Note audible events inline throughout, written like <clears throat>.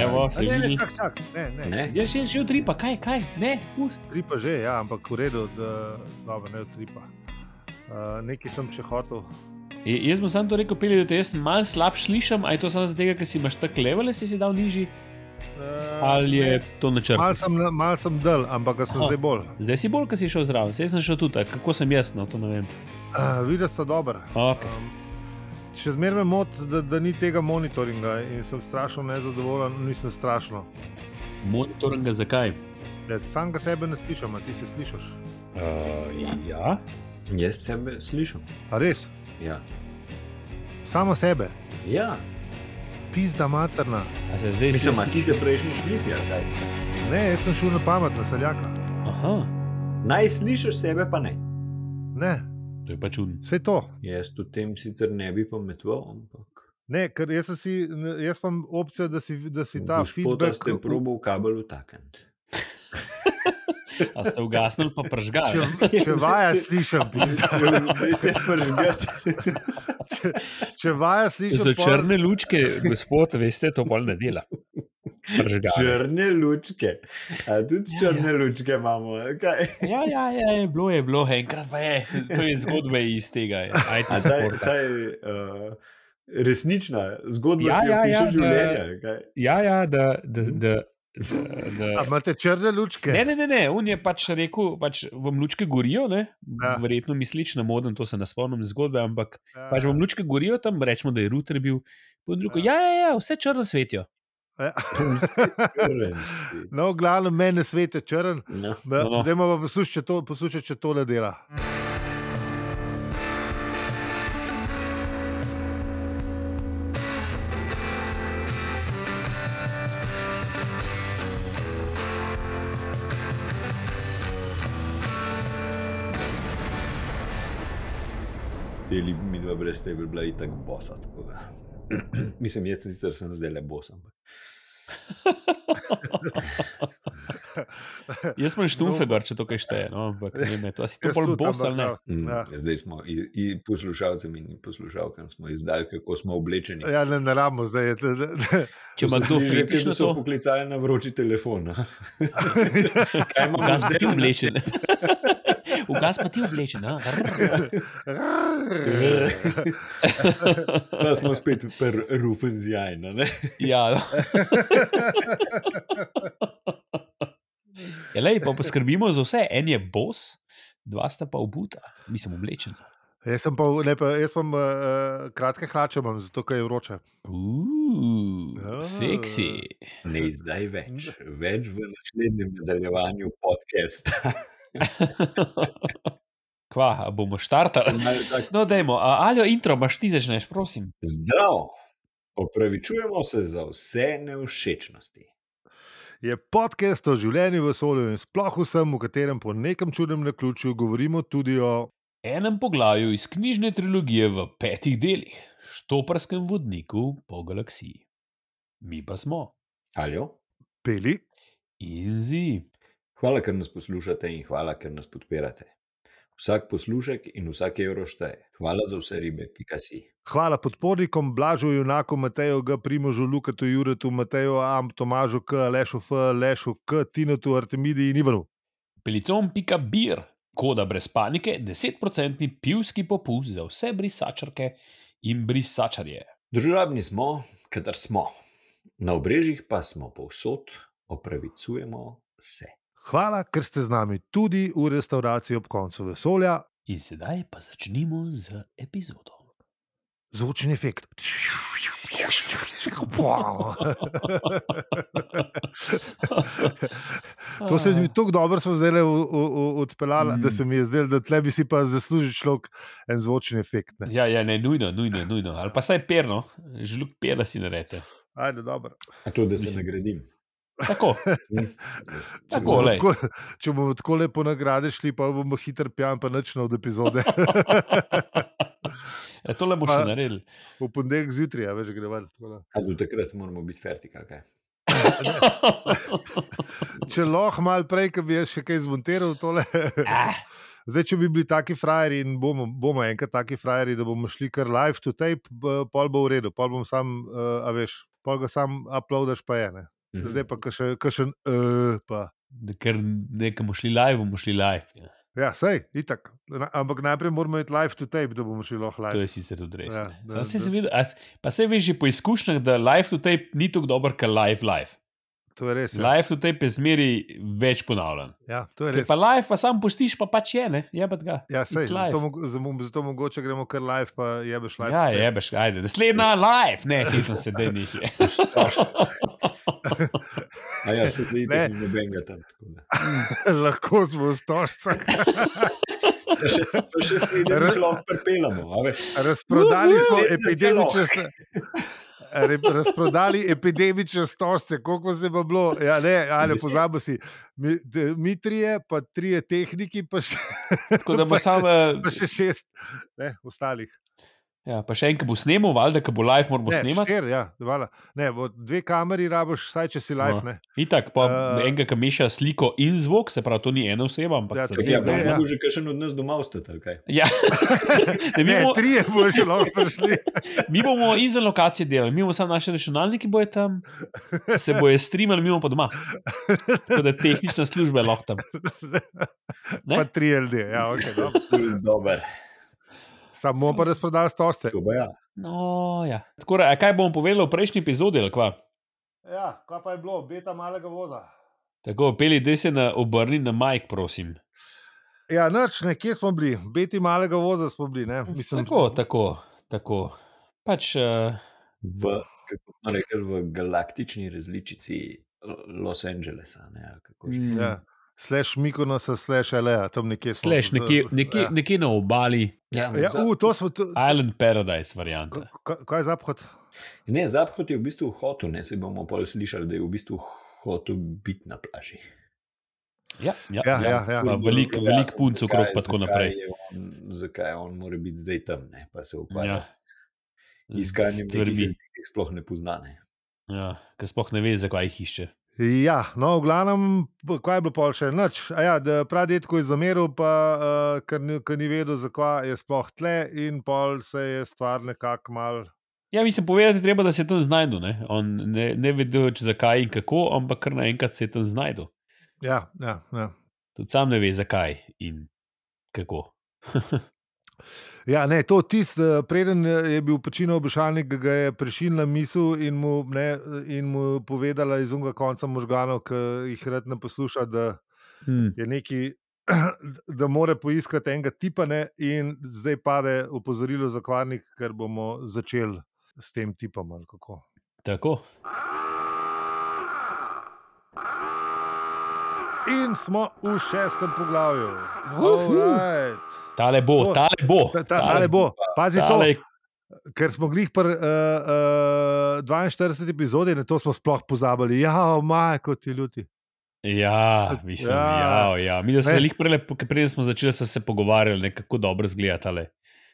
Evo, A se Ne, ne, vidi. čak, čak, ne, ne. ne. Ne? Zdaj še še utripa, kaj, kaj, ne, pust. Tri pa že, ja, ampak v redu, da dobro, ne tri pa. Uh, nekaj sem še hotel. Je, jaz bom samo to rekel, peli, da te jaz malo slabše slišim, ali je to samo zaradi tega, ker si imaš tako levele, si si dal nižji, Uh, ali je to načrt. Mal sem, mal sem del, ampak ga sem Aha. zdaj bolj. Zdaj si bolj, ker si šel zraven, zdaj sem šel tudi, kako sem jaz, no to ne vem. Uh, Videla sem dober. Okay. Um, še zmeraj me moti, da, da ni tega monitoringa in sem strašno nezadovoljen, nisem strašno. Monitoringa zakaj? Ja, sam ga sebe ne slišim, a ti se slišiš. Uh, ja. Jaz sebe slišim. A res, Ja. samo sebe, ja. pizda materna. A se zdaj Mislim, sliši- a ti se prejšnji šlisi, ali kaj? Ne, jaz sem šel na pamet, na seljaka. Aha, Naj slišiš sebe, pa ne. Ne, to je pa čudno. vse to. Jaz tu tem sicer ne bi pometoval, ampak. Ne, ker jaz, sem si, ne, jaz pa imam opcijo, da si, da si ta Gospoda feedback ste probal kabel utakniti. <laughs> A ste ugasnili, pa pržgali. Če, če vaja slišim, pizda. <laughs> Dajte pržgati. če, če vaja Če slišim, so pol- črne lučke, gospod, veste, to bolj ne dela. Pržgali. Črne lučke. A tudi Ja, črne lučke imamo. ali Kaj? Ja, ja, ja, je bilo je, bilo je, enkrat pa je. To je zgodba iz tega. IT A ta, supporta. ta je uh, resnična zgodba, Ja, ja, ja, ki jo ja, ja, da- piše ja, življenje. ali kaj? Ja, ja, da. da, <laughs> da, da, A da. Imate črne lučke? Ne, ne, ne, ne, on je pač rekel, pač vam lučke gorijo, ne? Ja. verjetno misliš na moden, to se ne spomnim iz zgodbe, ampak Ja. pač vam lučke gorijo tam, rečemo, da je router bil. Potem drugo, ja, ja, ja, vse črno svetijo. Ja. Črnci. No, glavno meni svet je črn. No. Da- No, no. Dajmo pa poslušati, če to- poslušati, če tole dela. Peli mi dva brez tebe, bi bila itak bosa. tako da. <clears throat> Mislim, jaz sem sicer sem zdaj le bos. ampak- Jaz sem štumfe gor, če to kaj šteje, no, ampak ne vem, je to a si to Jaz bolj tudi, bos ampak ali ne. Mm, Ja. Zdaj smo i- i poslušalcem in poslušalkam smo izdali, kako smo oblečeni. Ja, ja ne, ne rabimo zdaj. je- da- da- <laughs> Če ima so zelo že kritično so to, poklicali na vroči telefon. a? Kaj imamo ugas pa zdaj <laughs> ti na oblečen. Ugas pa ti oblečen, a? Da smo spet pri Rufenzijajnu. Ja. no. Ja, lej, pa poskrbimo za vse. En je bos, dva sta pa obuta, mislim, oblečena. Jaz sem pa, ne, pa jaz sem uh, kratke hlače, imam, zato ker je vroče. Uuu, Ja. seksi. Ne zdaj več, več v naslednjem nadaljevanju podcasta. Kva, a bomo štartali. Malo tako, No, dajmo, alijo intro, imaš ti začneš, prosim. Zdrav, opravičujemo se za vse neušečnosti. Je podcast o življenju v vesolju in sploh vsem, v katerem po nekem čudnem naključju govorimo tudi o. enem poglavju iz knjižne trilogije v petih delih, Štoprskem vodniku po galaksiji. Mi pa smo, Ali jo? Peli, izi. Hvala, ker nas poslušate in hvala, ker nas podpirate. Vsak poslušek in vsak evro šteje. Hvala za vse ribe, pika si. hvala podpornikom, Blažu, Junaku, Mateju, G. Primožu, Lukatu, Juretu, Mateju, Am, Tomažu, K. Lešu, F. Lešu, K. Tinetu, Artemidi in Ivanu. Pelicom.bir, koda brez panike, 10% pivski popust za vse brisačarke in brisačarje. Družabni smo, kadar smo. Na obrežjih pa smo povsod, opravičujemo se. Hvala, ker ste z nami tudi v restauraciji ob koncu vesolja. In sedaj pa začnimo z epizodo. Zvočen efekt. <laughs> To se mi tako dobro smo zdaj odpeljali, da se mi je zdelo, da tle bi si pa zaslužil človek en zvočen efekt. Ne. Ja, ja, ne, nujno, nujno, nujno. Ali pa saj perno, žlug pera si narete. Ajde, dobro. A to, da se Mislim. nagradim. <laughs> Tako, Če tako, bomo lej. tako- Če bomo tako lepo nagrade šli, pa bomo hitro pijan, pa nič ne od <laughs> epizode. Ja, Tole bomo Pa- še naredili. <laughs> v ponedeljek zjutraj, ja, več gre ven. tako da. A do takrat moramo biti fertik, ali kaj? Če lahko malo prej, ki bi jaz še kaj zmontiral, tole. <laughs> Ah, Zdaj, če bi bili taki frajeri in bomo, bomo enkrat taki frajeri, da bomo šli kar live to tape, b- pol bo v redu, pol bom sam, uh, a veš, pa ga sam uploadaš, pa je ne. Mhm. Zdaj pa še kakšen, eh, pa. Ker nekamo šli live, bomo šli live. Ja. Ja, sej, itak. Na- Ampak najprej moramo iti live to tape, da bomo šli lahko To je live. sicer tudi res. Ja, Ja, da- da, se da- zaveda, a, s- pa se veš že po izkušnjah, da live to tape ni tako dober, kot live live. To je res. Ja, Live to tape je zmeri več ponavljan. ja to je Ker res. pa live pa sam pustiš, pa pač je ne, je pa ga. Ja, sej, It's live. zato, mogo- zamo- zato mogoče gremo kar live, pa jebeš live. Ja, to tape. jebeš, ajde, naslednja live, ne, nisem se da njih. <laughs> je. A ja, se zdaj Ne. ne nobenega tam. tako da. <laughs> Lahko smo v stožcah. <laughs> Pa še, pa še sedem Re- jih lahko pripeljemo, a veš. Razprodali smo Uhu. epidemične. sta- Re, razprodali epidemične stožce, koliko se je pa bilo. Ja, ne, ali Deset. pozabo si. Mi, de- mi trije, pa trije tehniki, pa še, <laughs> Tako da bo Pa še- sam. pa še šest ne, ostalih. Ja, pa še enkrat bo snemal, valjda, ko bo live, moramo Ne, snemati. štir, ja, hvala. ne, bo dve kameri rabiš, vsaj če si live. Ne. No. Itak, pa Eh. uh, enega, ki meša sliko in zvok, se pravi, to ni ena oseba, ampak Ja, ja, čakaj, Ja, ja, pa Ne, je ja. mogel že kakšen od nas doma ostati, ali kaj. ja. ne, mi, Ne, bomo, trije bo že lahko prišli. mi bomo izven lokacije delali, mi bomo samo naši računalniki, bojo tam, <laughs> se bojo streamali, mi bomo pa doma. Tako da tehnična služba je <laughs> lahko tam. <laughs> Ne? Pa trije ljudje. Ja, okay, dobro. <laughs> Dober. Samo pa razprodali stožce. Tako ba ja. No, ja. Tako, da, a kaj bomo povedali v prejšnji epizodi? ali kva? Ja, kaj pa je bilo, beta malega voza. Tako, peli, da se na obrni na majk, prosim. Ja, noč, nekje smo bili, beti malega voza smo bili. Ne? Mislim, Tako, tako, tako. Pač, uh, V, kako smo rekli, v galaktični različici Los Angelesa. Ne, ali kako že. Ja. Slash Mikonosa, slash Alea, tam nekje. smo. Sleš, nekje, nekje, Ja. nekje na obali, ja, ampak Ja, za- u, to smo. To, Island Paradise varianta. k- k- kaj je zaphod? Ne, zaphod je v bistvu v hotu, ne se bomo pa slišali, da je v bistvu hotel biti na plaži. Ja, ja, Ja, ja, ja. Pa veliko- Jasno, veliko punc okrog zakaj- pa tako zakaj naprej. je On, zakaj on mora biti zdaj tam, ne? pa se ukvarja Ja. s iskanjem stvari, stvarmi. ki jih sploh ne poznane. Ja, ker sploh ne ve, zakaj jih išče. Ja, no, v glavnem, b- kaj je bilo pol še noč. A Ja, da pradetko je zameril, pa uh, ker, ni, ker ni vedel, zakaj je sploh tle, in pol se je stvar nekako mal. Ja, mislim, povedati je treba, da se je tam znašel. Ne, On ne, ne vedo, če zakaj in kako, ampak kar naenkrat se je tam znašel. Ja, ja, ja. Tudi sam ne ve, zakaj in kako. Ja, ne, to tisto, eh, preden eh, je bil počino obišalnik, ki ga je prešilna misel in mu, ne, eh, in mu povedala iz unga konca možganov, ki jih rad ne posluša, da Hmm. je neki, <clears throat> da more poiskati enega tipa ne, in zdaj pade opozorilo za kvarnik, ker bomo začeli s tem tipom ali kako. Tako. In smo v šestem poglavju. Uhu. Alright. Tale bo, To- tale bo. Ta, ta, tale bo, pazi to. Tale, ker smo glih pri uh, uh, 42 epizodi, na to smo sploh pozabili. Ja, maj, kot ti ljudi. ja, mislim, Ja. ja. Ja, ja. Mi da se Ne. jih prele, ko- preden smo začeli, so se pogovarjali, ne, kako dobro zgleda tale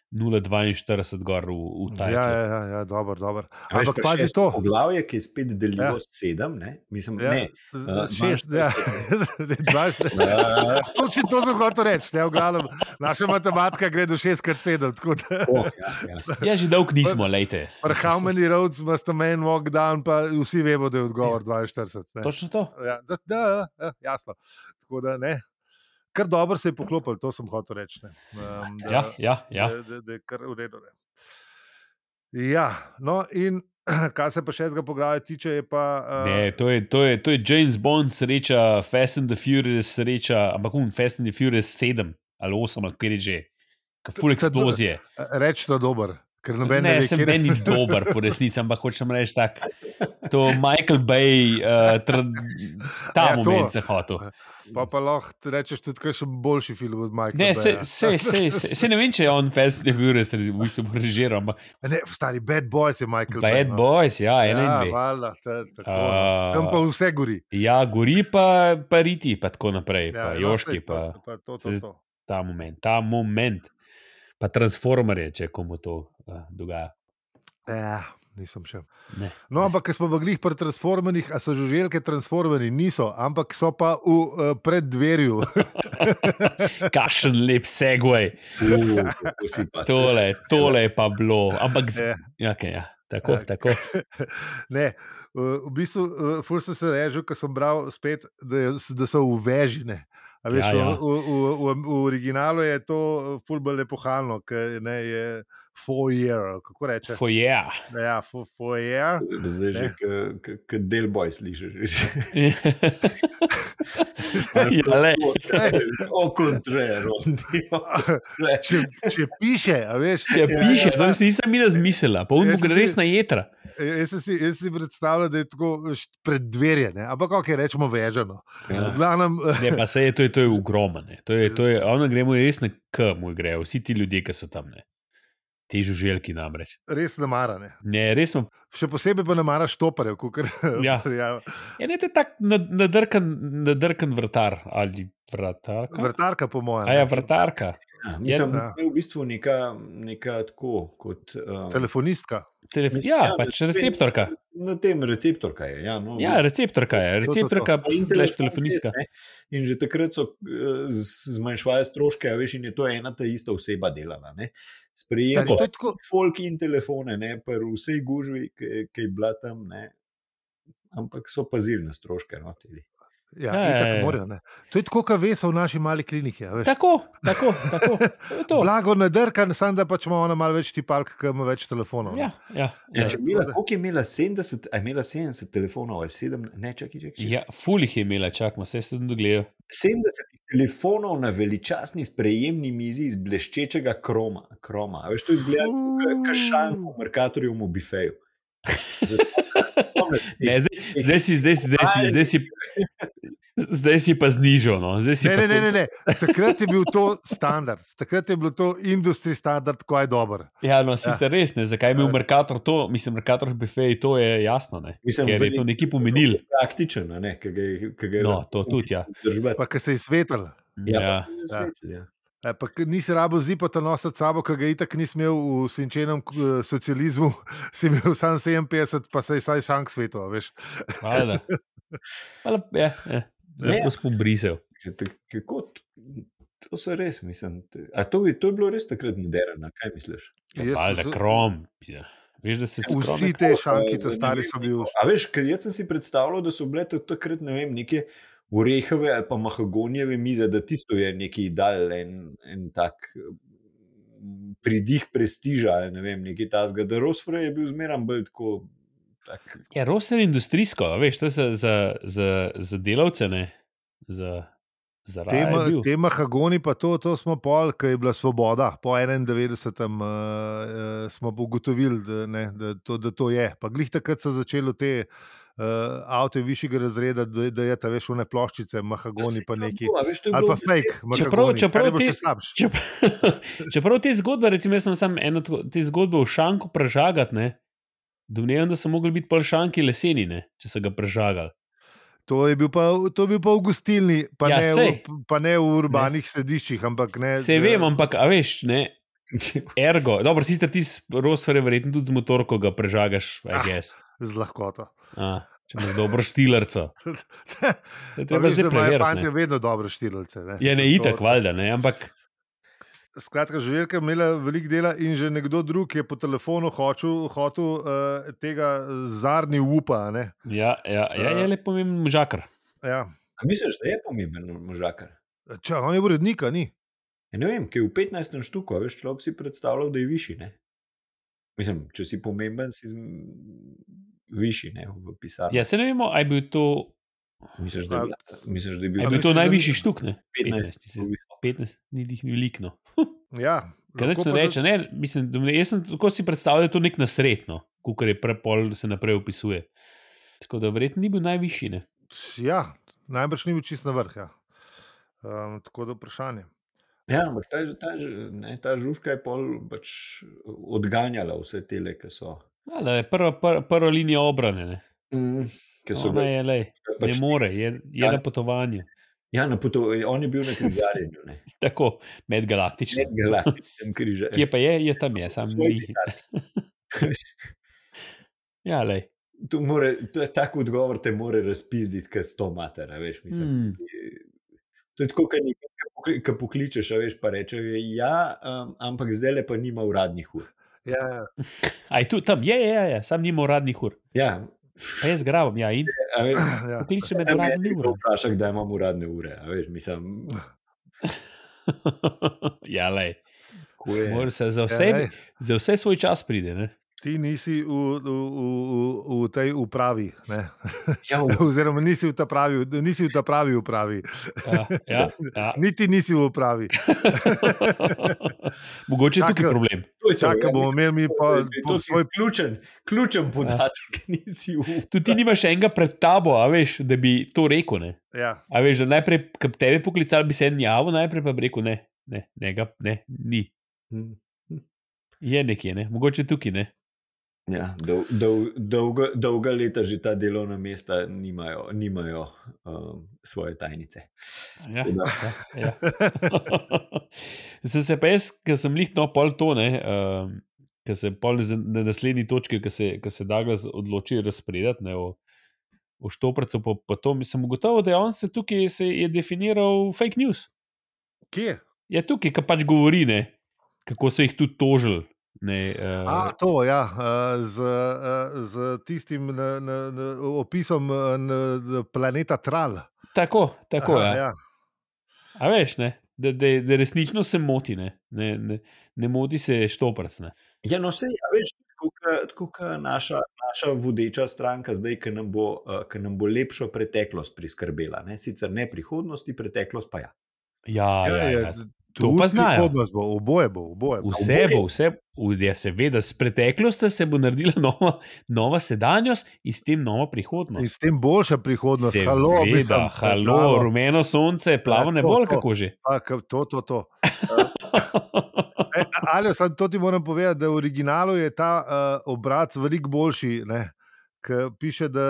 0,42 gor v, v Ja, Tajlandi. ja, ja, ja dobro, dobro. A veš, Ampak pa pazi šesto to. Poglavje, ki je spet delilo Ja. ja. s sedem, ne? mislim, Ja, ja. ne. z- eh, Šest, ja, <laughs> 20. Uh, Točno to sem hotel reči, ne, v glavnem. Naša matematika gre do 6x7, tako da. oh, <laughs> ja, ja. Ja, že dolgo nismo, lejte. Pri how many roads must a man walk down, pa vsi vemo, da je odgovor 42. ne. Točno to. Ja, da, da, ja, jasno. Tako da ne. Kar dobro se je poklopil, to sem hotel reči. ne. Um, da- Ja, ja, ja. da, da, da je kar v redu. Ne. Ja, no, in <clears throat> kar se pa šestega poglavja tiče, je pa. Uh, Ne, to je, to, je, to je James Bond sreča, Fast and the Furious sreča, ampak um, Fast and the Furious 7 ali 8 ali kjer je že. ka Full Ta- ta- eksplozije. Reč to dober, ker noben Ne, ve, sem kjer- meni dober, po resnici, ampak hočem reči tako. To Michael Bay, uh, tra, ta Ja, ja, to. moment se hotel. Pa pa lahko rečeš tudi, kaj še boljši film od Michaela. Ne, se, Baya. se, se, se, se ne vem, če je on Fast and the Furious re- v bistvu režiral, ampak ne, stari Bad Boys je Michael. Bay, no. Bad Boys, ja, ena in Ja, dve. valjda, ta- tako, no. A- Tam pa vse gori. Ja, gori pa, pa riti, pa tako naprej, Ja, pa no, joški, saj, pa. pa to, to, to. ta moment, ta moment. Pa transformerje, če komu to uh, dogaja. Ja, nisem še. Ne, No, ne. ampak ker smo bili pri transformerjih, a so žuželke transformerji? Niso, ampak so pa v uh, preddverju. Kašen lep segway, Uh, kako si pa. tole, tole je pa bilo. Ampak, z... Ja. okay, ja. Tako, Tako. tako. Ne, v v bistvu, eh, ful sem se režil, ker sem bral spet, da, je, s- da so uvežene. A Veš, Ja, v, ja. v, v, v, v originalu je to eh, ful bolj lepohalno, ker ne, je foyer, kako reče. Foje. Ja, fo- foyer. Zdaj že Ne. k- k- kot del boj slišiš. <laughs> <laughs> Ja, le. O kontrero. <laughs> Če, če piše, a veš, Če piše, to si nisem jaz mislila, pa on Ja, Jaz bo gre si- res na jedra. jaz sem si, jaz si predstavljam, da je tako veš, predverje, ne, ampak ok, rečemo vežano. Ja. V glavnem, eh, Ne, pa se je, to je, to je ogromno. ne. To je, to je, ono gremo res na K, mu grejo vsi ti ljudje, ki so tam. Ne. Ti žuželki namreč. res ne marane. Ne, res smo. Še posebej pa ne maraš toparjev, kot <laughs> Ja. Je ne, to je tak nad- nadrkan, nadrkan vrtar ali vratarka. vrtarka, po mojem. A ja, ne. vrtarka, Mislim, Ja. da je v bistvu neka, neka tako kot. Um, Telefonistka. telefon. Mislim, Ja, ja, pač na receptorka. Na tem receptorka je. Ja, no, Ja, receptorka je, To, to, to. receptorka, In slash telefon telefonistka. čez, ne. In že takrat so eh, z- zmanjševali stroške, a veš, in je to ena ta ista oseba delala. ne. Ja, Stari, Sprejemala Ja, to je tako, folk in telefone, ne pa vsej gužvi, ki je bila tam. Ne. Ampak so pazili na stroške. No, teli. ja, Ja, ja, ja, ja. ja. Morajo, ne. to je tako, kot veste v naši mali kliniki. a veš. Tako, tako, tako. To je to. Blago nadrkan, samo da pač imamo ona malo več tipalk, ki ima več telefonov. ne. Ja, ja, ja, ja. če imela, tako da- koliko je imela 70, a je imela 70 telefonov ali 7, ne čakaj, čakaj. čakaj. ja fulih je imela, čakamo, vse sem dogledal. 70 telefonov na veličastni sprejemni mizi iz bleščečega kroma. kroma. A Veš, to izgleda kot kašan v Merkatorjevem bifeju. <laughs> Ne, zdaj, zdaj si, zdaj si, zdaj si, zdaj si, zdaj si pa znižal. No. Zdaj si Ne, pa ne, ne, ne, tudi- ne. Takrat je bil to standard, takrat je bil to industrijski standard, ko je dober. Ja, no, si Ja. ste res, ne, zakaj je imel Ja. Merkator to, mislim, Merkator Buffet, to je jasno, ne, Mislim, ker je veliko- to nekaj <laughs> pomenil. Praktičen, a ne, ki ga je, ki ga je No, to tudi, ja. Pa ki se je svetel. Ja, ja. ja. ja. E, Pa k- nisi rabo zipota nositi s sabo, ki ga itak nisi imel v svinčenem eh, socializmu, <laughs> si imel sam 57, pa se je saj šank svetu, a veš. Hvala. Hvala, ja, ja. Lepo spobrisal. Če te- Kako, t- to so res, mislim. te- A to, je- to je bilo res takrat moderno, a kaj misliš? Ja, Jaz Hvala, sem- krom. Ja. Veš, da se skrom- Vsi Tako, te eh, šankice za stari ne so vem, bili. neko- A veš, ker jaz sem si predstavljal, da so bile to takrat ne vem, neke orehove ali pa mahagonijeve mize, da tisto je neki dal en, en tak mm, pridih prestiža ali ne vem, nekaj tasga, da Rosfrey je bil zmeran bolj tako. Tak, Ja, roster je industrijsko, a veš, to je za, za, za, za delavce, ne, za, za Tema, raje. tema Hagoni, pa to, to smo pol, ki je bila svoboda, po 91. Uh, uh, smo pa ugotovili, da, ne, da, to, da to je. Pa glih takrat so začeli te uh, avto višjega razreda, da, da je ta veš vne ploščice, Mahagoni pa neki. To, a veš, to je Ali pa bilo fake, Čeprav- mahagoni, čeprav kar je bilo ti- še slabše. Čep, čeprav <laughs> te zgodbe, recimo, jaz sem samo eno tako- te zgodbe v šanku prežagal, ne. Domnevam, da so mogli biti pol šanki leseni, ne, če so ga prežagali. To je bil pa, to je bil pa v gostilni, pa, Ja, ja, ne, sej. v, pa ne v urbanih ne. središčih, ampak ne. Se da- vem, ampak, a veš, ne. nekaj- Ergo, dobro, sicer ti rostvare, verjetno tudi z motorko ga prežagaš, Ah. aj gess. Z lahkoto. <laughs> Če imaš dobro štilarco. To je Pa treba veš, da zdaj imajo preveriti. fanti ne. vedno dobre štirilice. Ne. Ja, ne Mislim, to- itak, valjda, ne, ampak Skratka, žuželka je imela veliko dela in že nekdo drug je po telefonu hočel, hotel uh, tega zarni upa. a ne. ja, ja, ja, je lepo pomemben možakar. Ja. <laughs> A misliš, da je pomemben možakar? Če on je urednik, a ni. Ja, ne vem, ki je v 15. štuku, a veš, človek si predstavljal, da je višji. Ne? Mislim, če si pomemben, si zm- višji ne, v pisarni. Ja, se ne vemo, aj bil to, Misliš, da je, bila, misliš, da je aj bil A bil to misliš, da ni- najvišji štuk, ne? 15, Ja, mislim. 15. 15 ni jih veliko. no. Ja, Kaj lahko neč ne pa da- reče, ne, mislim, da, jaz sem tako si predstavljal, da je to nek nasretno, kot je prepol se naprej opisuje. Tako da verjetno ni bil najvišji. Ne? Ja, najbrž ni bil čist na vrh. Ja. Um, tako da vprašanje. Ja, ampak ta, ta, ž- ne, ta žužka je pol pač odganjala vse tele, ki so. Ja, da je prva, prva, prva linija obrane, ne, Mm, ki so Ona je, lej, ne pač, more, je, je na potovanju. <laughs> ja, na potu, on je bil na križarjenju, ne Tako, medgalaktično. na galaktičnem križarjenju. Kje pa je, je tam je, sam ni. <laughs> Ja, lej. To more, to je tako odgovor, te more razpizditi, ker sto mater, a veš, <laughs> mislim. Hmm. To je tako, kot nekaj, ki pokličeš, a veš, pa rečejo, ja, um, ampak zdaj le pa nima uradnih ur. Ja, ja. <clears throat> Aj tu, tam, je, je, je, sam nima uradnih ur. Ja, Pa jaz grabam, ja, in a veš, ja. kliče med mene uradnimi nekdo urami. vpraša, kdaj imam uradne ure. a Veš, mislim, <laughs> ja, lej, ko je- moraš se Ja, za vse, lej, za vse svoj čas pride, ne? ti nisi v, v, v, v, v tej upravi, ne? <laughs> ja, v- oziroma nisi v ta pravi, nisi v ta pravi upravi, Ja, ja, ja. <laughs> niti nisi v upravi. Mogoče je tukaj Čakaj. problem. to je to, Čakaj, ja, bomo mislim, imeli mi da pa je- da je po svoj to Ja. svoj ključen, ključen podatek, <laughs> nisi v. Tudi ti nimaš enega pred tabo, a veš, da bi to rekel. Ne? Ja, A veš, da najprej, ki bi tebe poklical, bi se en javil, najprej pa bi rekel: ne, ne, ne, ga, ne ni. hm, Je nekje, ne? mogoče tukaj ne. Ja, dol, dol, dolga, dolga leta že ta delovna mesta nimajo, nimajo um, svoje tajnice. Ja, Tako da, ja, ja. sem se pa jaz, ker sem lih no pol tone, um, ker se pol z- na naslednji točki, ki se, ki se Douglas odloči razpredati ne, o, o štoprcu, pa, pa to, sem ugotovil, da je on se tukaj se je definiral fake news. kje? Je tukaj, ki pač govori, ne, kako so jih tudi tožili. Ne, A, uh, to, ja, eh, z, eh, z tistim na, na, na, opisom eh, na, na planeta Tral. tako, tako Aha, ja. ja. A veš, ne? Da, da, da resnično se moti, ne, ne, ne, ne moti se štoprc. Ne. ja, no, vse, ja, veš, tako ka- tako kot naša, naša vodeča stranka, zdaj, ki nam, bo, eh, ke nam bo lepšo preteklost priskrbela. Ne? Sicer ne prihodnosti, preteklost pa ja. Ja, ja, ja, ja. To pa znajo. Prihodnost bo, oboje bo, oboje bo. Vse bo, vse bo, ja, seveda, s preteklostjo se bo naredila <laughs> nova, nova sedanjost in s tem nova In prihodnost. s tem boljša prihodnost. Seveda, halo, mislim, halo, pravo. rumeno sonce, plavo Ja, ne to, bolj, to. kako že. <laughs> Pa, ka- to, to, to. E, ali samo to ti moram povedati, da v originalu je ta uh, obrat veliko boljši. Ne? Ker piše, da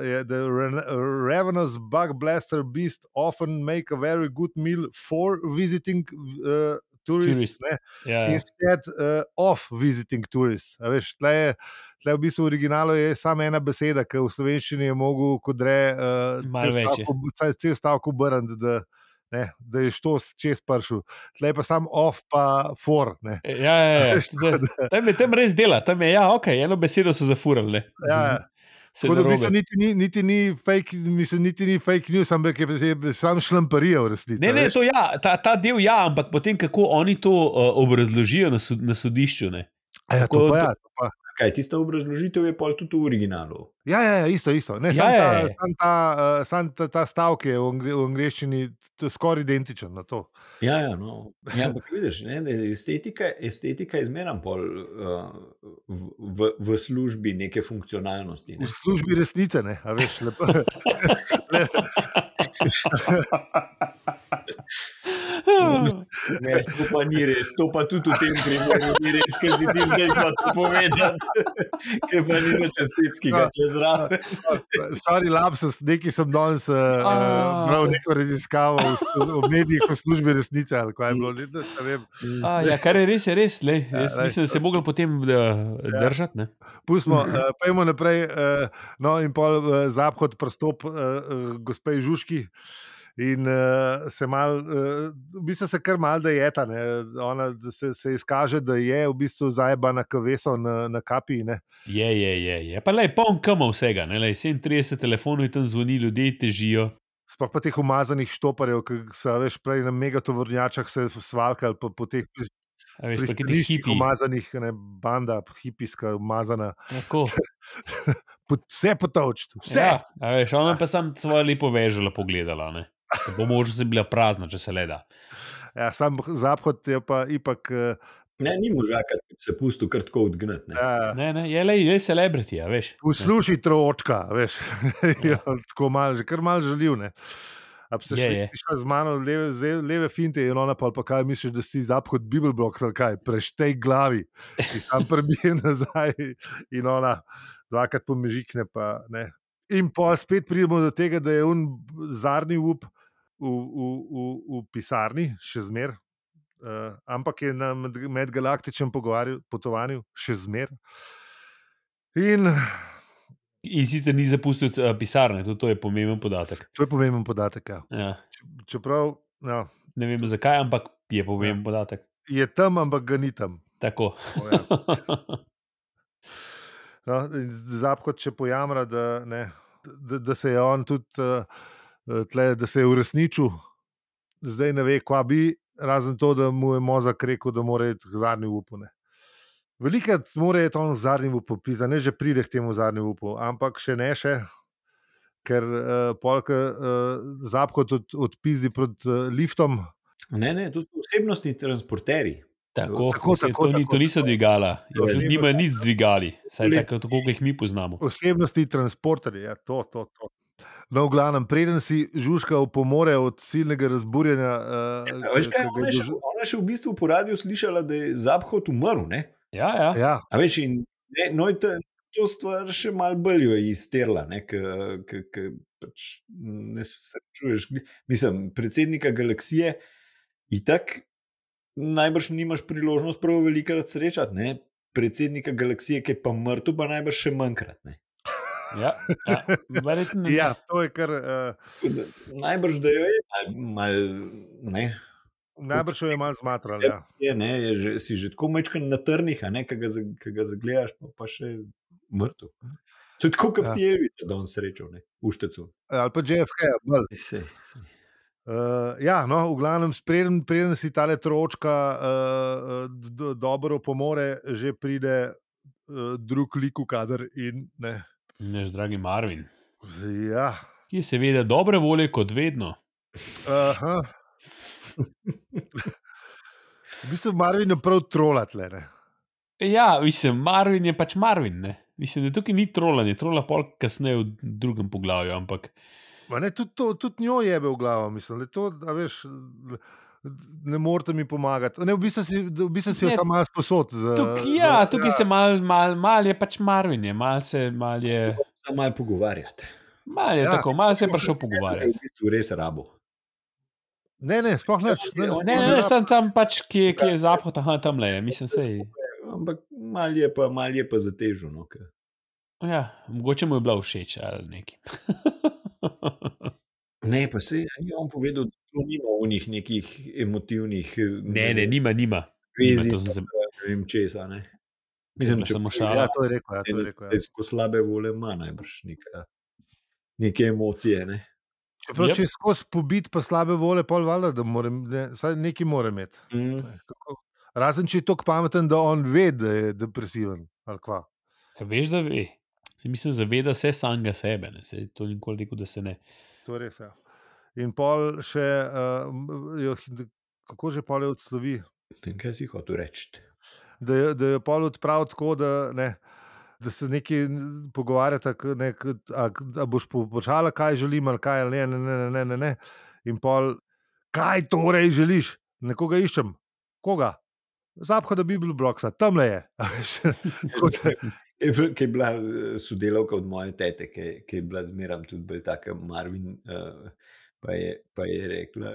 uh, je da ren- Ravenous Bug Blaster Beast often make a very good meal for visiting uh, tourists. Tourists. Ne? ja, ja. instead uh, of visiting tourists. A Veš, tle je, tle v bistvu v originalu je samo ena beseda, ki v slovenščini je mogel, ko gre uh, Malo več je. cel stavek obrniti, da, ne, da je šlo čez pršu. Tle je pa sam off, pa for. Ne. Ja, <laughs> ja, ja. Veš, tako da- Tam je tam res dela, tam je, ja, ok, eno besedo so zafurali. ne. Ja, ja. Se Tako da v narobe. bistvu niti ni, niti ni fake, mislim, niti ni fake news, ampak je, je sam šlamparija v resnici. Ne, a ne, veš. to ja, ta, ta del ja, ampak potem kako oni to uh, obrazložijo na, sod, na <laughs> sodišču. Ne? A ja, to tako- pa, ja, to pa. Kaj, tista obrazložitev je pol tudi v originalu. Ja, ja, ja, isto, isto. Ne, Ja, sam, ja, ta, ja. sam, ta, eh, sam ta, ta stavek je v, angli, v angleščini t- skoraj identičen na to. Ja, ja, no. ja ampak vidiš, ne, da je estetika, estetika je zmeraj pol uh, v, v, v službi neke funkcionalnosti. V Ne. službi resnice, ne, a veš, lepo. Ne, to pa ni res, to pa tudi v tem primeru ni res, ker si ti zdaj pa to povedal, <laughs> ker pa ni več estetskega, če zraven. Sorry, lapsus, neki sem danes eh, eh, bral neko raziskavo v slu- o medijih v službi resnice ali kaj je bilo. Ne, ne vem. A, ja, kar je res, je res. Lej, jaz Ja, ja, lej. mislim, da se je mogel potem uh, držati. Ne? Pustimo, eh, pojdimo naprej. eh, No, in pol eh, zaphod prstop eh, eh, gospe Žužki. In uh, se mal, uh, v bistvu se kar mal da je ta, ona da se, se izkaže, da je v bistvu zajebana kaveso na, na kapi. Ne? Je, je, je, je. Pa le, poln kama vsega. Ne, lej, 37 telefonov je tam zvoni, ljudje težijo. Sploh pa teh umazanih štoparjev, ki so veš prej na megatovornjačah se svalkali, pa po teh pri- A veš, pa kaj ti pristaniščih hipi. umazanih, ne, banda, hipijska umazana. Tako. Pot, vse potovčiti, <laughs> vse. Ja, a veš, ona pa sam svoje lepo veželo pogledala. Ne? Da Bo možno sem bila prazna, če se le da. Ja, sam zaphod je pa ipak. eh, Ne, ni možaka, ki bi se pustil kar tako odgnati. ne. ja, Ne, ne, je le, je celebrity, a veš. Poslušaj, tročka, veš, <laughs> Ja. ja. tako malo, že kar malo žaljiv. Ne? A bi se Je, šli- je. bi šla z mano leve, ze- leve finte in ona pa, pa kaj misliš, da si ti zaphod Bibelblok ali kaj, preštej glavi. In sam <laughs> prebije nazaj in ona dvakrat pomežikne. Pa, ne. In pa spet pridemo do tega, da je un zadnji up v, v, v, v pisarni, še zmer. Uh, ampak je na med- medgalaktičnem pogovarju- potovanju še zmer. In In sicer ni zapustil eh, pisarne, tudi to je pomemben podatek. To je pomemben podatek. Ja. Ja. Če- Čeprav ja, Ne vem zakaj, ampak je pomemben ja. podatek. je tam, ampak ga ni tam. Tako. O, ja. No, in Zapkot še pojamra, da, ne, da, da se je on tudi eh, tle, da se je uresničil, zdaj ne ve, kva bi, razen to, da mu je mozak rekel, da mora iti k zadnjemu upu. ne. Velikrat mora iti on v zadnji upu, pisa, ne že pride k temu zadnjemu upu, ampak še ne še. Ker uh, polk uh, zapkot od, odpizdi proti uh, liftom, Ne, ne, to so osebnostni transporterji. Tako, Tako, tako, tako, tako, to, ni, tako, to niso tako. Ja, dvigala, To je z njima nič dvigali, vsaj tako, tako kot jih mi poznamo. Osebnosti transporterja, ja, to, to, to. No, v glavnem, preden si žužka opomore od silnega razburjenja, eh, A Veš, ki- kaj, ki ga je ona, je še, dož- ona je še v bistvu po radiju slišala, da je Zabhod umrl. Ne? Ja, ja. ja, A veš, in ne, no, in ta, to stvar še malo bolj jo je izterla, ne, k, k, k, pač ne srečuješ. gli- Mislim, predsednika galaksije itak najbrž nimaš priložnost prav velikrat srečati, ne? predsednika galaksije, ki je pa mrtev, pa najbrž še manjkrat. Ne? ja, <laughs> ja. Verjetno, ja, to je kar. Eh, Tako da Najbrž, da jo je malo, mal, ne, najbrž jo je malo zmatral. Ja. je, ne, je že, si že tako mečken na trnih, a ne, ki ga, za- ki ga zagledaš, pa, pa še mrtev. To je tako, Ja. kot ti je Elvis, da on srečal, ne, v štecu. Eh, Ali pa JFK. ja, bolj. Sej, sej. Uh, ja, no, v glavnem, preden, preden si ta letročka uh, do, dobro pomore, že pride uh, drug lik v kader. In, ne. Naš dragi Marvin, ja, ki je seveda dobre volje, kot vedno. aha. <laughs> V bistvu Marvin je prav trolatle. Ne. Ja, mislim, Marvin je pač Marvin. Ne? Mislim, da tukaj ni trolanje, trola pol kasneje v drugem poglavju, ampak Eh, Ma Ne, tudi, to, tudi njo je bil v glavo, mislim. Le to, a veš, l- ne morete mi pomagati. Ne, v bistvu si, v bistvu si jo Ne. samo malo sposod. Za, tuk, za, ja, tukaj se mal, mal, mal je pač Marvin, je, mal se mal je, Samo malo pogovarjati. mal je Ja. ja, tako, mal se je prišel Je pogovarjati. v bistvu res rabo. Ne, ne, sploh neč, ne. sploh On je- Ja, Ne, ne, ne, sem tam pač, ki je, ki je zapot, aha, tam le je, mislim, sej. Ampak malo je pa, mal je pa zatežen. No, ke- Ja, mogoče mu je bila všeč ali nekaj. ne, pa se je on povedal, da to nima v njih nekih emotivnih eh, Ne, ne, nima, nima. nima vezi, to sem se, ne vem česa. Ne. To je bila samo bi- šala. Ja, to je rekel. Ja, to je Ne, rekel ja. da Skozi slabe volje ima najbrž neka, neke emocije. Ne? Čeprav, Jep. če je skozi pobit, pa slabe vole, pol valjda, da moram, ne, saj nekaj mora imeti. Ne, Mm. kako- Razen če je tako pameten, da on ve, da je depresiven. ali kva. veš, da ve. Se mislim, zaveda se samega sebe, ne, se to nikoli rekel, da se ne. To je res. Ja. In pol še, uh, jo, hi- kako že pol jo odslovi, In kaj si hotel reči? da, jo- da jo pol odpravi tako, da, ne, da se nekaj pogovarjata, k- ne, k- a, k- a boš vprašala, kaj želim, ali kaj, ali ne, ne, ne, ne, ne, ne, ne. In pol, kaj torej želiš, nekoga iščem, koga. Zapha, da bi bil bloksa, tam le je. <laughs> a veš. Tako da- <laughs> Je bil- Ki je bila eh, sodelavka od moje tete, ki, je- ki je bila zmeraj tudi bolj taka, Marvin. Uh, pa, je, pa je rekla,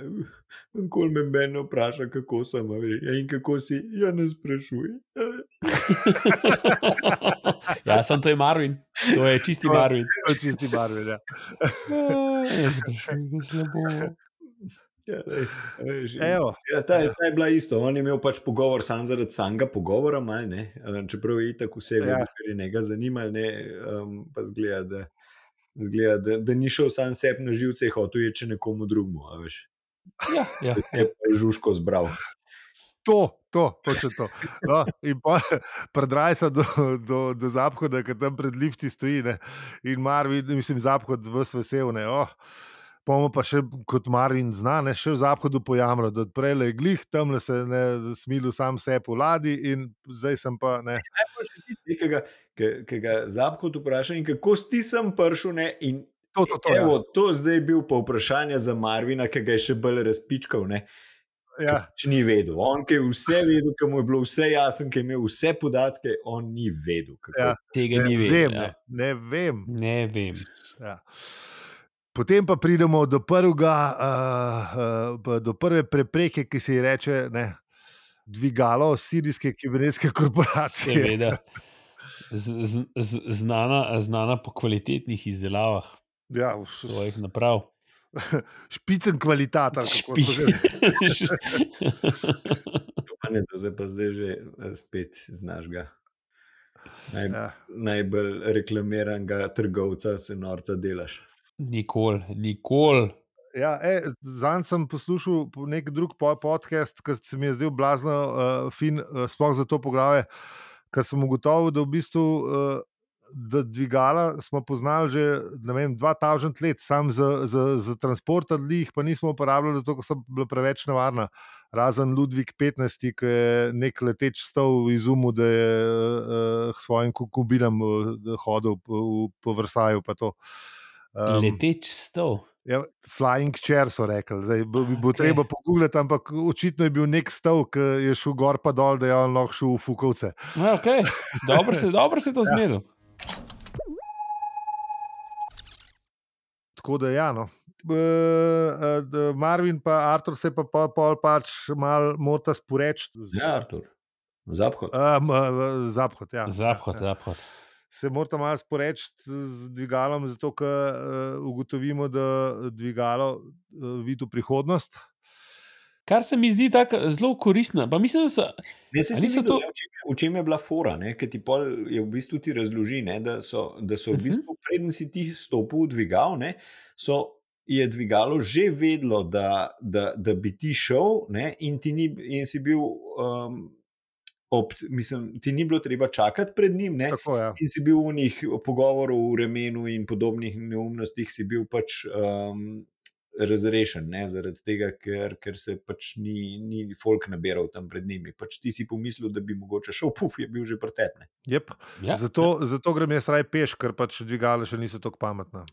kako me meni vpraša, kako sem, a veš, ja, in kako si, ja, ne sprašuje. ja, sem to je Marvin, to je čisti To je- Marvin. to je čisti barve. Ja. Ja, sprašujem, kako slabo. Ja, lej, a veš, in- Evo, Ja, ta, je- ta je bila isto. On je imel pač pogovor sam zaradi samega pogovora, malo, ne? Eh, čeprav je itak vse Ja. vedel, kar je njega zanimalo, ne, um, pa zgleda, da, zgleda da, da ni šel sam sebi na živce, hotel je če nekomu drugemu. a veš. Ja, ja. Da se Je pa žužko zbral. to, to, točno to. No, in <laughs> predraj se do, do, do zaphoda, ki tam pred lifti stoji. Ne. In Marvin, mislim, zaphod vse vesel. Ne, oh. Pomo pa še kot Marin zna, ne, še v zahodu pojamro, da prej le glih, tam se ne smilu sam se poladi in zdaj sem pa ne. Najbolj še tisti, nekega, ki- ki ga zapkot vpraša, in kako si ti sem pršel, ne, in To, to, ja. to, evo, to ja. zdaj je bil pa vprašanje za Marvina, ki ga je še bolj razpičkal, ne. ja, ja, Če pač ni vedel, on ki je vse vedel, ki mu je bilo vse jasno, ki je imel vse podatke, on ni vedel. Kako. Ja. Tega ne ni vem. vedel. Ne, Ja. ne vem. Ne vem. Ja. Potem pa pridemo do, prvega, uh, uh, do prve prepreke, ki se ji reče ne, dvigalo Sirijske kibernetske korporacije. Seveda. Z, z, z, znana, znana po kvalitetnih izdelavah Ja, svojih naprav. Ja, <laughs> špicen kvalitat. ali kako Špi. so že- Pa Španec, zdaj pa zdaj že eh, spet znaš ga. Naj, Ja. najbolj reklamiranega trgovca se norca delaš. Nikoli, nikoli. Ja, e, Zanj sem poslušal po- nek drug po- podcast, ki se mi je zdel blazno uh, fin, uh, sploh za to poglavje, ker sem ugotovil, da v bistvu uh, da dvigala smo poznali že ne vem, 2000 let, sam za, za, za transport ali jih pa nismo uporabljali, zato ker so bila preveč nevarna. Razen Ludvik 15, ki je nek leteč stol v izumu, da je uh, svojim kubinam uh, hodil po, po Vrsaju. pa to. Um, Em, Leteč stol. Ja, flying chair so rekli, zdaj bo, bi- bo Okej. okay. treba pogledati, ampak očitno je bil nek stav, ki je šel gor pa dol, da je on lahko šel v fukovce. Ja, okay. Dobro se, dobro se je Ja. to zmedil. Tako da ja. No. E, e, d- Marvin pa Artur se pa pol, pol pač mal mota sporeč. Ja, Artur, zapko. Um, Zaphod, ja. Zaphod, zaphod. Se moramo malo sporeči z dvigalom, zato ker uh, ugotovimo, da dvigalo uh, vidi v prihodnost. Kar se mi zdi tako zelo koristno. Pa mislim, da so, Ne, se A si niso videl, to- to... v, čem, je- v čem je bila fora, ne, ker ti pol je v bistvu ti razloži, ne, da so, da so v Mhm. bistvu, preden si ti stopil v dvigal, ne, so, je dvigalo že vedlo, da, da, da bi ti šel ne, in, ti ni, in si bil, um, ob, mislim, ti ni bilo treba čakati pred njim. Ne, Tako, ja. In si bil v njih pogovorov v remenu in podobnih neumnostih, si bil pač um, razrešen, ne? zaradi tega, ker, ker se pač ni, ni folk nabiral tam pred njimi. Pač ti si pomislil, da bi mogoče šel, puf, je bil že pretepne. Yep. ja, Ja, zato, ja. zato grem jaz raje peš, ker pač dvigala še niso tako pametna.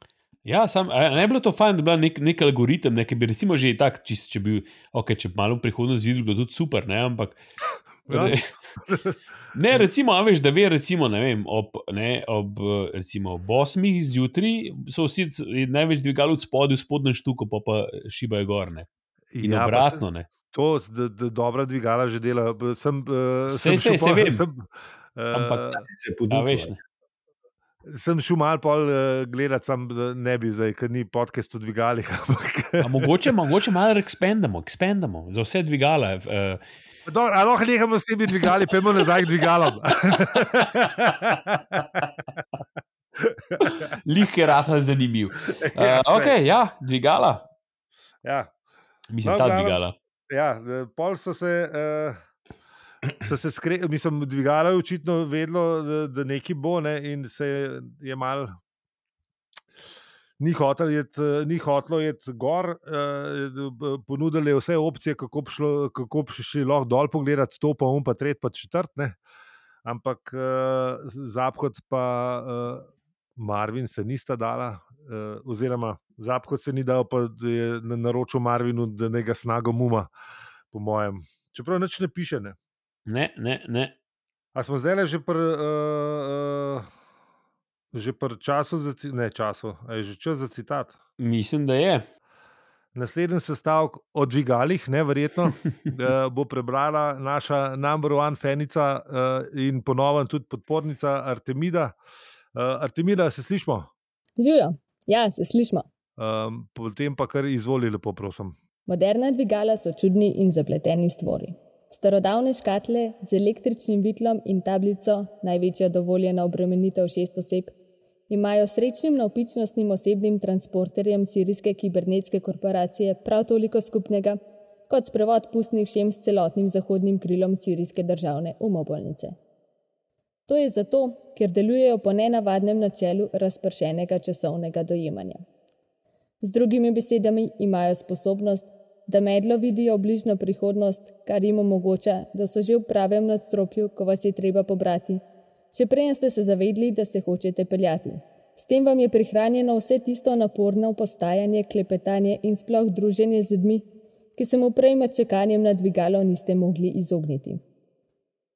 ja, sam, a ne bi bilo to fajn, da bi bil nek, nek algoritem, ne, ki bi recimo že tak, čist, če bi, okay, če bi malo v prihodnost videl, bi bilo tudi super, ne, ampak. Ja. <laughs> Ne, recimo, a veš, da ve, recimo, ne vem, ob, ne, ob, eh, recimo, ob 8 zjutraj so vsi c- največ dvigali od spodaj, v spodnjem štuku, pa pa šibajo gorne. In ja, pa obratno, ne. Se, to, da, da dobra dvigala že dela. b- Sem, uh, Sej, sej, sej vem. sem, Ampak- uh, Da si se A podučil. veš, ne. sem šel malo pol uh, gledati, sam da ne bi zdaj, ker ni podcast o dvigalih. <laughs> Ampak, A mogoče, mogoče malo ekspandamo, ekspandamo za vse dvigala. Uh, Dobro, a lahko nehamo s temi dvigali, pojmo nazaj k <laughs> dvigalom. Lihke rata zanimiv. Uh, Ja, saj. ok, ja, dvigala. ja. Mislim, No, ta glavno- dvigala. Ja, eh, pol so se. Uh, So se skre, mislim, dvigalo je očitno vedlo, da, da nekaj bo, ne, in se je, je mal. Ni, hotel jet, eh, ni hotlo je gor, eh, ponudili vse opcije, kako bi šlo- kako bi šli lahko dol pogledati, to pa um, pa tret, pa četrt. Ne. Ampak eh, Zaphod pa eh, Marvin se nista dala, eh, oziroma Zaphod se ni dal, pa da je na- naročil Marvinu, da ne ga snago muma, po mojem. Čeprav nič ne piše. Ne. Ne, ne, ne. A smo zdaj že pri. Uh, uh, Že pri času, za, ci- ne času, a je že čas za citat. Mislim, da je. Naslednji sestavek o dvigalih, ne verjetno, eh, bo prebrala naša number one fenica eh, in ponovno tudi podpornica Artemida. Eh, Artemida, se slišmo? Živijo, ja, se slišmo. Um, potem pa kar izvoli, lepo prosim. Moderna dvigala so čudni in zapleteni stvori. Starodavne škatle z električnim vitlom in tablico, največja dovoljena obremenitev šest oseb, imajo srečnim navpičnostnim osebnim transporterjem sirijske kibernetske korporacije prav toliko skupnega, kot sprevod pustnih šem s celotnim zahodnim krilom sirijske državne umobolnice. To je zato, ker delujejo po nenavadnem načelu razpršenega časovnega dojemanja. Z drugimi besedami imajo sposobnost, da medlo vidijo bližnjo prihodnost, kar jim omogoča, da so že v pravem nadstropju, ko vas je treba pobrati. Še prej ste se zavedli, da se hočete peljati. S tem vam je prihranjeno vse tisto naporno postajanje, klepetanje in sploh druženje z ljudmi, ki se mu prej med čakanjem na dvigalo niste mogli izogniti.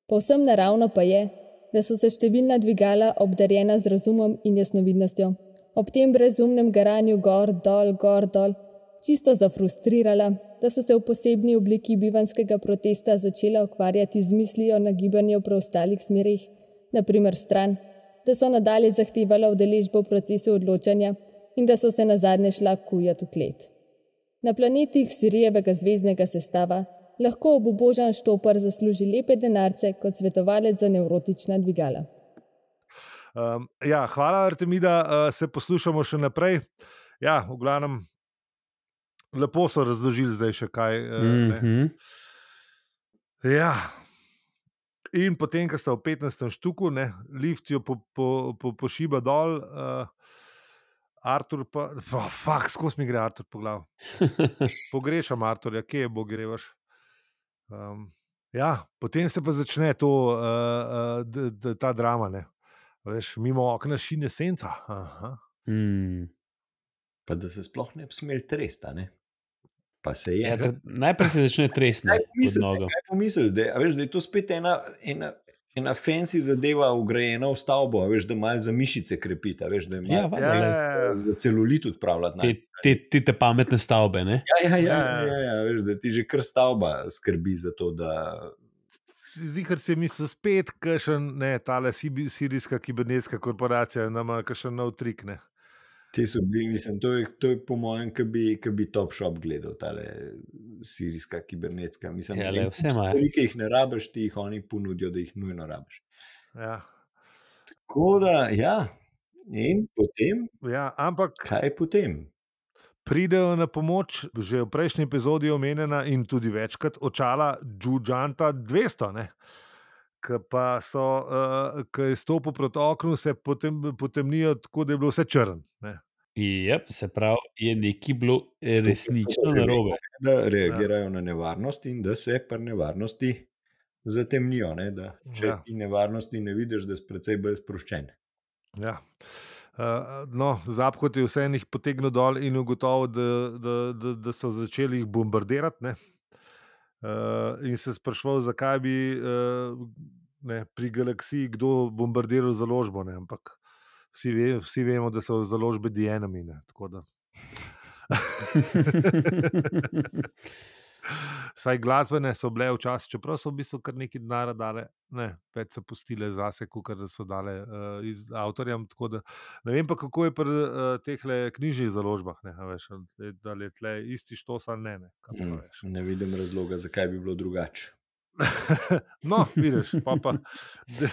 Povsem naravno pa je, da so se številna dvigala obdarjena z razumom in jasnovidnostjo, ob tem brezumnem garanju gor, dol, gor, dol, čisto zafrustrirala, da so se v posebni obliki bivanskega protesta začela ukvarjati z mislijo na gibanje v preostalih smerih, naprimer stran, da so nadalje zahtevala udeležbo v procesu odločanja in da so se na zadnje šla kujat v klet. Na planetih Sirijevega zvezdnega sestava lahko obubožan štopar zasluži lepe denarce kot svetovalec za nevrotična dvigala. Um, ja, hvala, Artemida, uh, se poslušamo še naprej. Ja, v glavnem, lepo so razložili zdaj še kaj. Uh, mm -hmm. Mhm. Ja. In potem, ko sta v 15. štuku, ne, lift jo po, po, po, pošiba dol, uh, Artur pa, <laughs> oh, fuk, skozi mi gre Artur po glavi. Pogrešam Arturja, kje je Bog grevaš. Um, ja, potem se pa začne to, uh, uh, d, d, ta drama. Ne. Veš, mimo okna šine senca. Aha. Mm. Pa da se sploh ne bi smel tresti, a ne? pa se je. Ja, da- najprej se začne tresno Kaj pod nogo. pomisli, da, a veš, da je to spet ena, ena, ena fancy zadeva, ugrajena v stavbo, a veš, da malo za mišice krepita, veš, da je Ja, malo valjda, Ja, glej, ja, za celulit odpravljati. te, ne. te, te, te pametne stavbe. Ne? Ja, ja, ja, Ja, ja. ja, ja, veš, da ti že kar stavba skrbi za to, da Zihar se mi so spet, kašen, ne, ta sirijska kibernetska korporacija, nama kašen nov trik. Ne. ti so bili, mislim, to je, to je po mojem, ki bi, ki bi Top Shop gledal, ta sirijska kibernetska. Mislim, Ja, da glej, jim vse imajo. Stvari, ki jih ne rabiš, ti jih oni ponudijo, da jih nujno rabiš. Ja. Tako da, ja, in potem, Ja, ampak kaj potem? pridejo na pomoč, že v prejšnji epizodi omenjena in tudi večkrat očala Džužanta 200. Ne? Ki pa so, uh, ki je stopil proti oknu, se potem potemnijo, tako da je bilo vse črn. Ne? Ja. Jep, se pravi, je nekaj bilo To resnično že narobe. Da reagirajo ja. na nevarnost in da se pri nevarnosti zatemnijo. Ne? Da, če Ja. ja. ti nevarnosti ne vidiš, da si precej bolj sproščen. Ja. Uh, no, Zapkot je vseeno jih potegnil dol in ugotovil, da, da, da, da so začeli jih bombardirati. Ne? Uh, in se sprašval, zakaj bi uh, ne, pri galaksiji kdo bombardiral založbo. Ne? Ampak vsi, ve, vsi vemo, da so založbe dienami. Saj glasbene so bile včasih, čeprav so v bistvu kar nekaj denarja dale, ne, več so pustile zase, kot da so dale uh, iz, avtorjem. tako Da, ne vem pa, kako je pri uh, teh knjižnih založbah, ne, a veš, ali- da je tle isti štos ali ne. ne kaj pa Mm, veš. ne vidim razloga, zakaj bi bilo drugače. <laughs> no, vidiš, pa pa. De,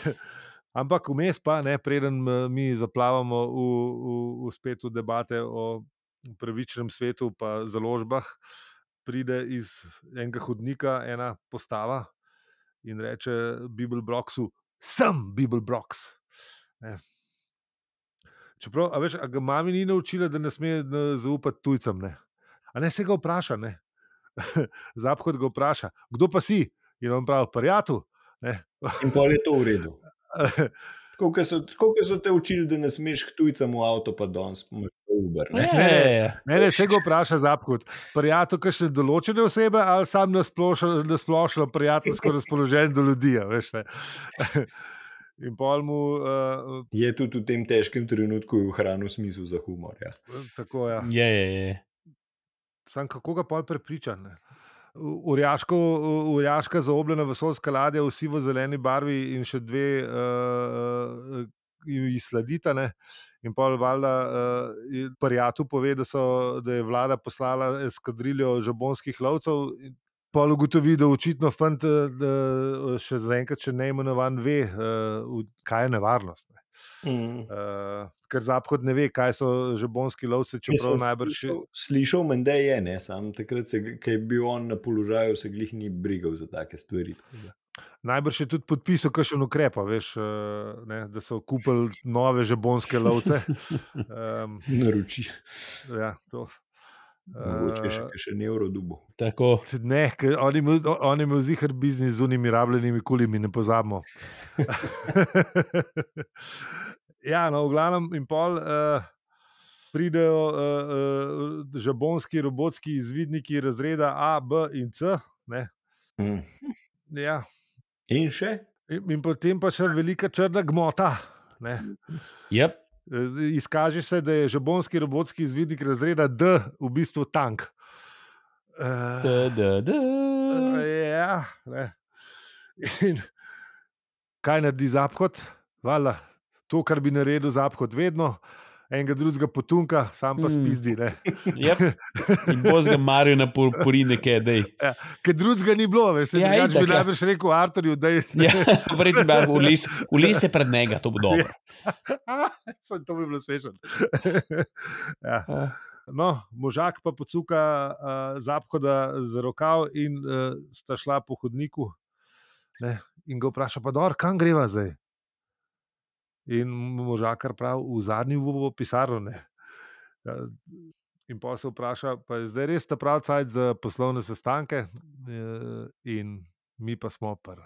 ampak vmes pa, ne, preden eh, mi zaplavamo v, v, v spet v debate o pravičnem svetu, pa založbah, pride iz enega hodnika ena postava in reče Bibel Broxu, sem Bibel Brox. Ne. Čeprav, a veš, a ga mami ni naučila, da ne sme eh, zaupati tujcem. Ne? A ne se ga vpraša, ne. <laughs> Zaphod ga vpraša, kdo pa si? In on pravi, prijatelj. <laughs> In pa je to v redu. Tako kot so, tako kot so te učili, da ne smeš k tujcem v avto, pa danes imaš pa Uber. <laughs> Ja, Ne? ja, ja. Mene se ga vpraša zapkot. Prijatelj, kaj še določene osebe ali sam nasplošno, nasplošno prijateljsko razpoložen do ljudi. a Veš, ne. <laughs> In pol mu uh, Je tudi v tem težkem trenutku ohranil smisel za humor. Ja. tako je. Ja. Je, je, je. Sam kako ga pol prepričan. Ne? U- Urjaško, u- urjaška zaobljena vesoljska ladja, vsi v zeleni barvi in še dve eh, uh, izsladita. Ne? In pol valjda uh, Prijatu pove, da, so, da je vlada poslala eskadriljo žabonskih lovcev. in Pol ugotovi, da očitno fant, eh, da še zaenkrat, če ne imenovan, ve, eh, v- kaj je nevarnost. Ne. Mm. Eh, Ker zaphod ne ve, kaj so žabonski lovci, čeprav najbrž. slišal, slišal menda je, ne, sam takrat, se, ga- ko je bil on na položaju, se glih ni brigal za take stvari. tako da. Najbrž je tudi podpisal kakšen ukrep, a veš, eh, ne, da so kupili nove žebonske lovce. Um, Naroči, ja, to. <laughs> mogoče še Eh, kakšen evro dubo. <laughs> Tako. Ne, ker oni mu- o- oni imajo zihar biznis z unimi rabljenimi kulimi, ne pozabimo. <laughs> ja, no, v glavnem in pol. Uh, Pridejo uh, uh, žabonski, robotski izvidniki razreda A, B in C. Ne? Mm. Ja. In še, In, in potem pa še velika črna gmota. Ne? Yep. Eh, Izkaže se, da je žabonski robotski izvidnik razreda D v bistvu tank. Eh, Da, da, da. Hm. Ja, ne. In kaj naredi zaphod? Vala, to, kar bi naredil zaphod, vedno enega drugega potunka, sam pa Mm. spizdi. ne. Yep. In bo zga Marijo na pol- porine, kaj dej. Ker drugega ni bilo, veš, Ja, ja, če bi itak, ja. najbrž rekel Arturju, da je <laughs> <laughs> Ja, verjetno bi bil v les, v les je pred njega, to bo dobro. Saj to bi bilo smešno. ja. Ja. No, možak pa pocuka uh, zaphoda za rokav in uh, sta šla po hodniku. Ne, in ga vpraša, pa dobro, kam greva zdaj? In mu možakar pravi, v zadnji v pisarno. ne." Ja, In pa se vpraša, pa je zdaj res ta pravi cajt za poslovne sestanke, Eh, in mi pa smo pr.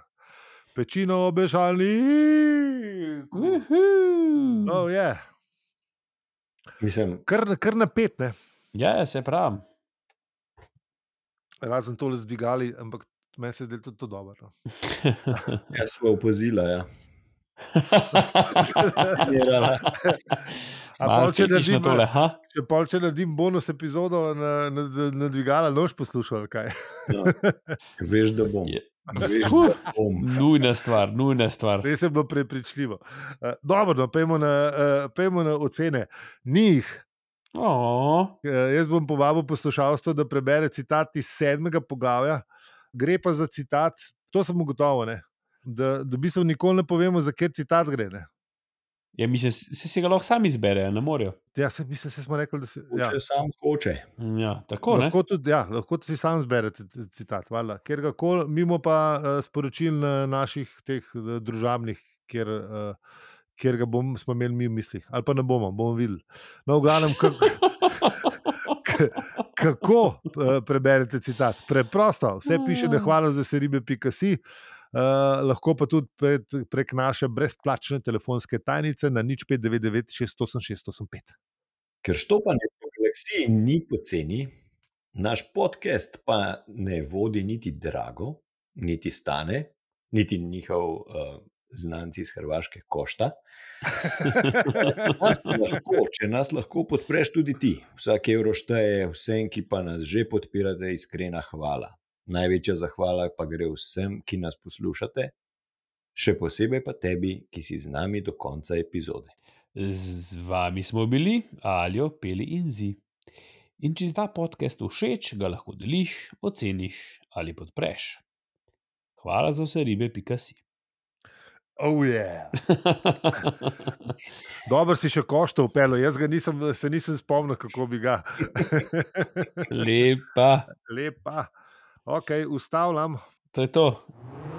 Pečino obežali. No, je. Mislim, Kar, kar napet, ne. Ja, se pravi. razen tole zdigali, ampak meni se je zdelo tudi to dobro. no. jaz smo opazila. <laughs> Ja. Trenirala. A Malo pol, če fetiš na naredim, tole, ha? Če pol, če naredim bonus epizodo na, na, na, na dvigala, noč poslušal, ali kaj. <laughs> no. Veš, da bom. Je. Veš, Huh, da bom. Nujna stvar, nujna stvar. Res je bilo prepričljivo. Eh, Dobro, no, pejmo na, eh, pejmo na ocene. Ni jih. Oh, Eh, Jaz bom povabil poslušalstvo, da prebere citat iz sedmega poglavja. Gre pa za citat, to sem ugotovil, ne? da, da v bistvu nikoli ne povemo, za kje citat gre. Ne? ja, mislim, se, se ga lahko sami izberejo, ne morejo. Ja, se, mislim, se smo rekli, da se. Ja. Če sam hoče. Ja, tako ne. lahko, tudi, ja, lahko si sam zberete c- citat, valjda, ker ga kol, mimo pa uh, sporočil na naših teh uh, družabnih, kjer, uh, kjer ga bom, smo imeli mi v mislih, ali pa ne bomo, bomo videli. No, v glavnem, <laughs> kako, kako uh, preberete citat? Preprosto, vse piše, da hvala za se ribe.si. Uh, lahko pa tudi pred, prek naše brezplačne telefonske tajnice na nič 599 608 685. Ker štopanje po galaksiji ni poceni, naš podcast pa ne vodi niti drago, niti stane, niti njihov uh, znanci iz Hrvaške košta. Nas lahko, če nas lahko podpreš, tudi ti. Vsak evro šteje, vsem, ki pa nas že podpirate, iskrena hvala. Največja zahvala pa gre vsem, ki nas poslušate, še posebej pa tebi, ki si z nami do konca epizode. Z vami smo bili, alijo, peli in zi. In če ti ta podcast všeč, ga lahko deliš, oceniš ali podpreš. Hvala za vse ribe, pika <laughs> si. Oh, yeah. Dobro si še košto upelo, jaz ga nisem, se nisem spomnil, kako bi ga. Lepa, Lepa. Ok, ustavljam. to je to.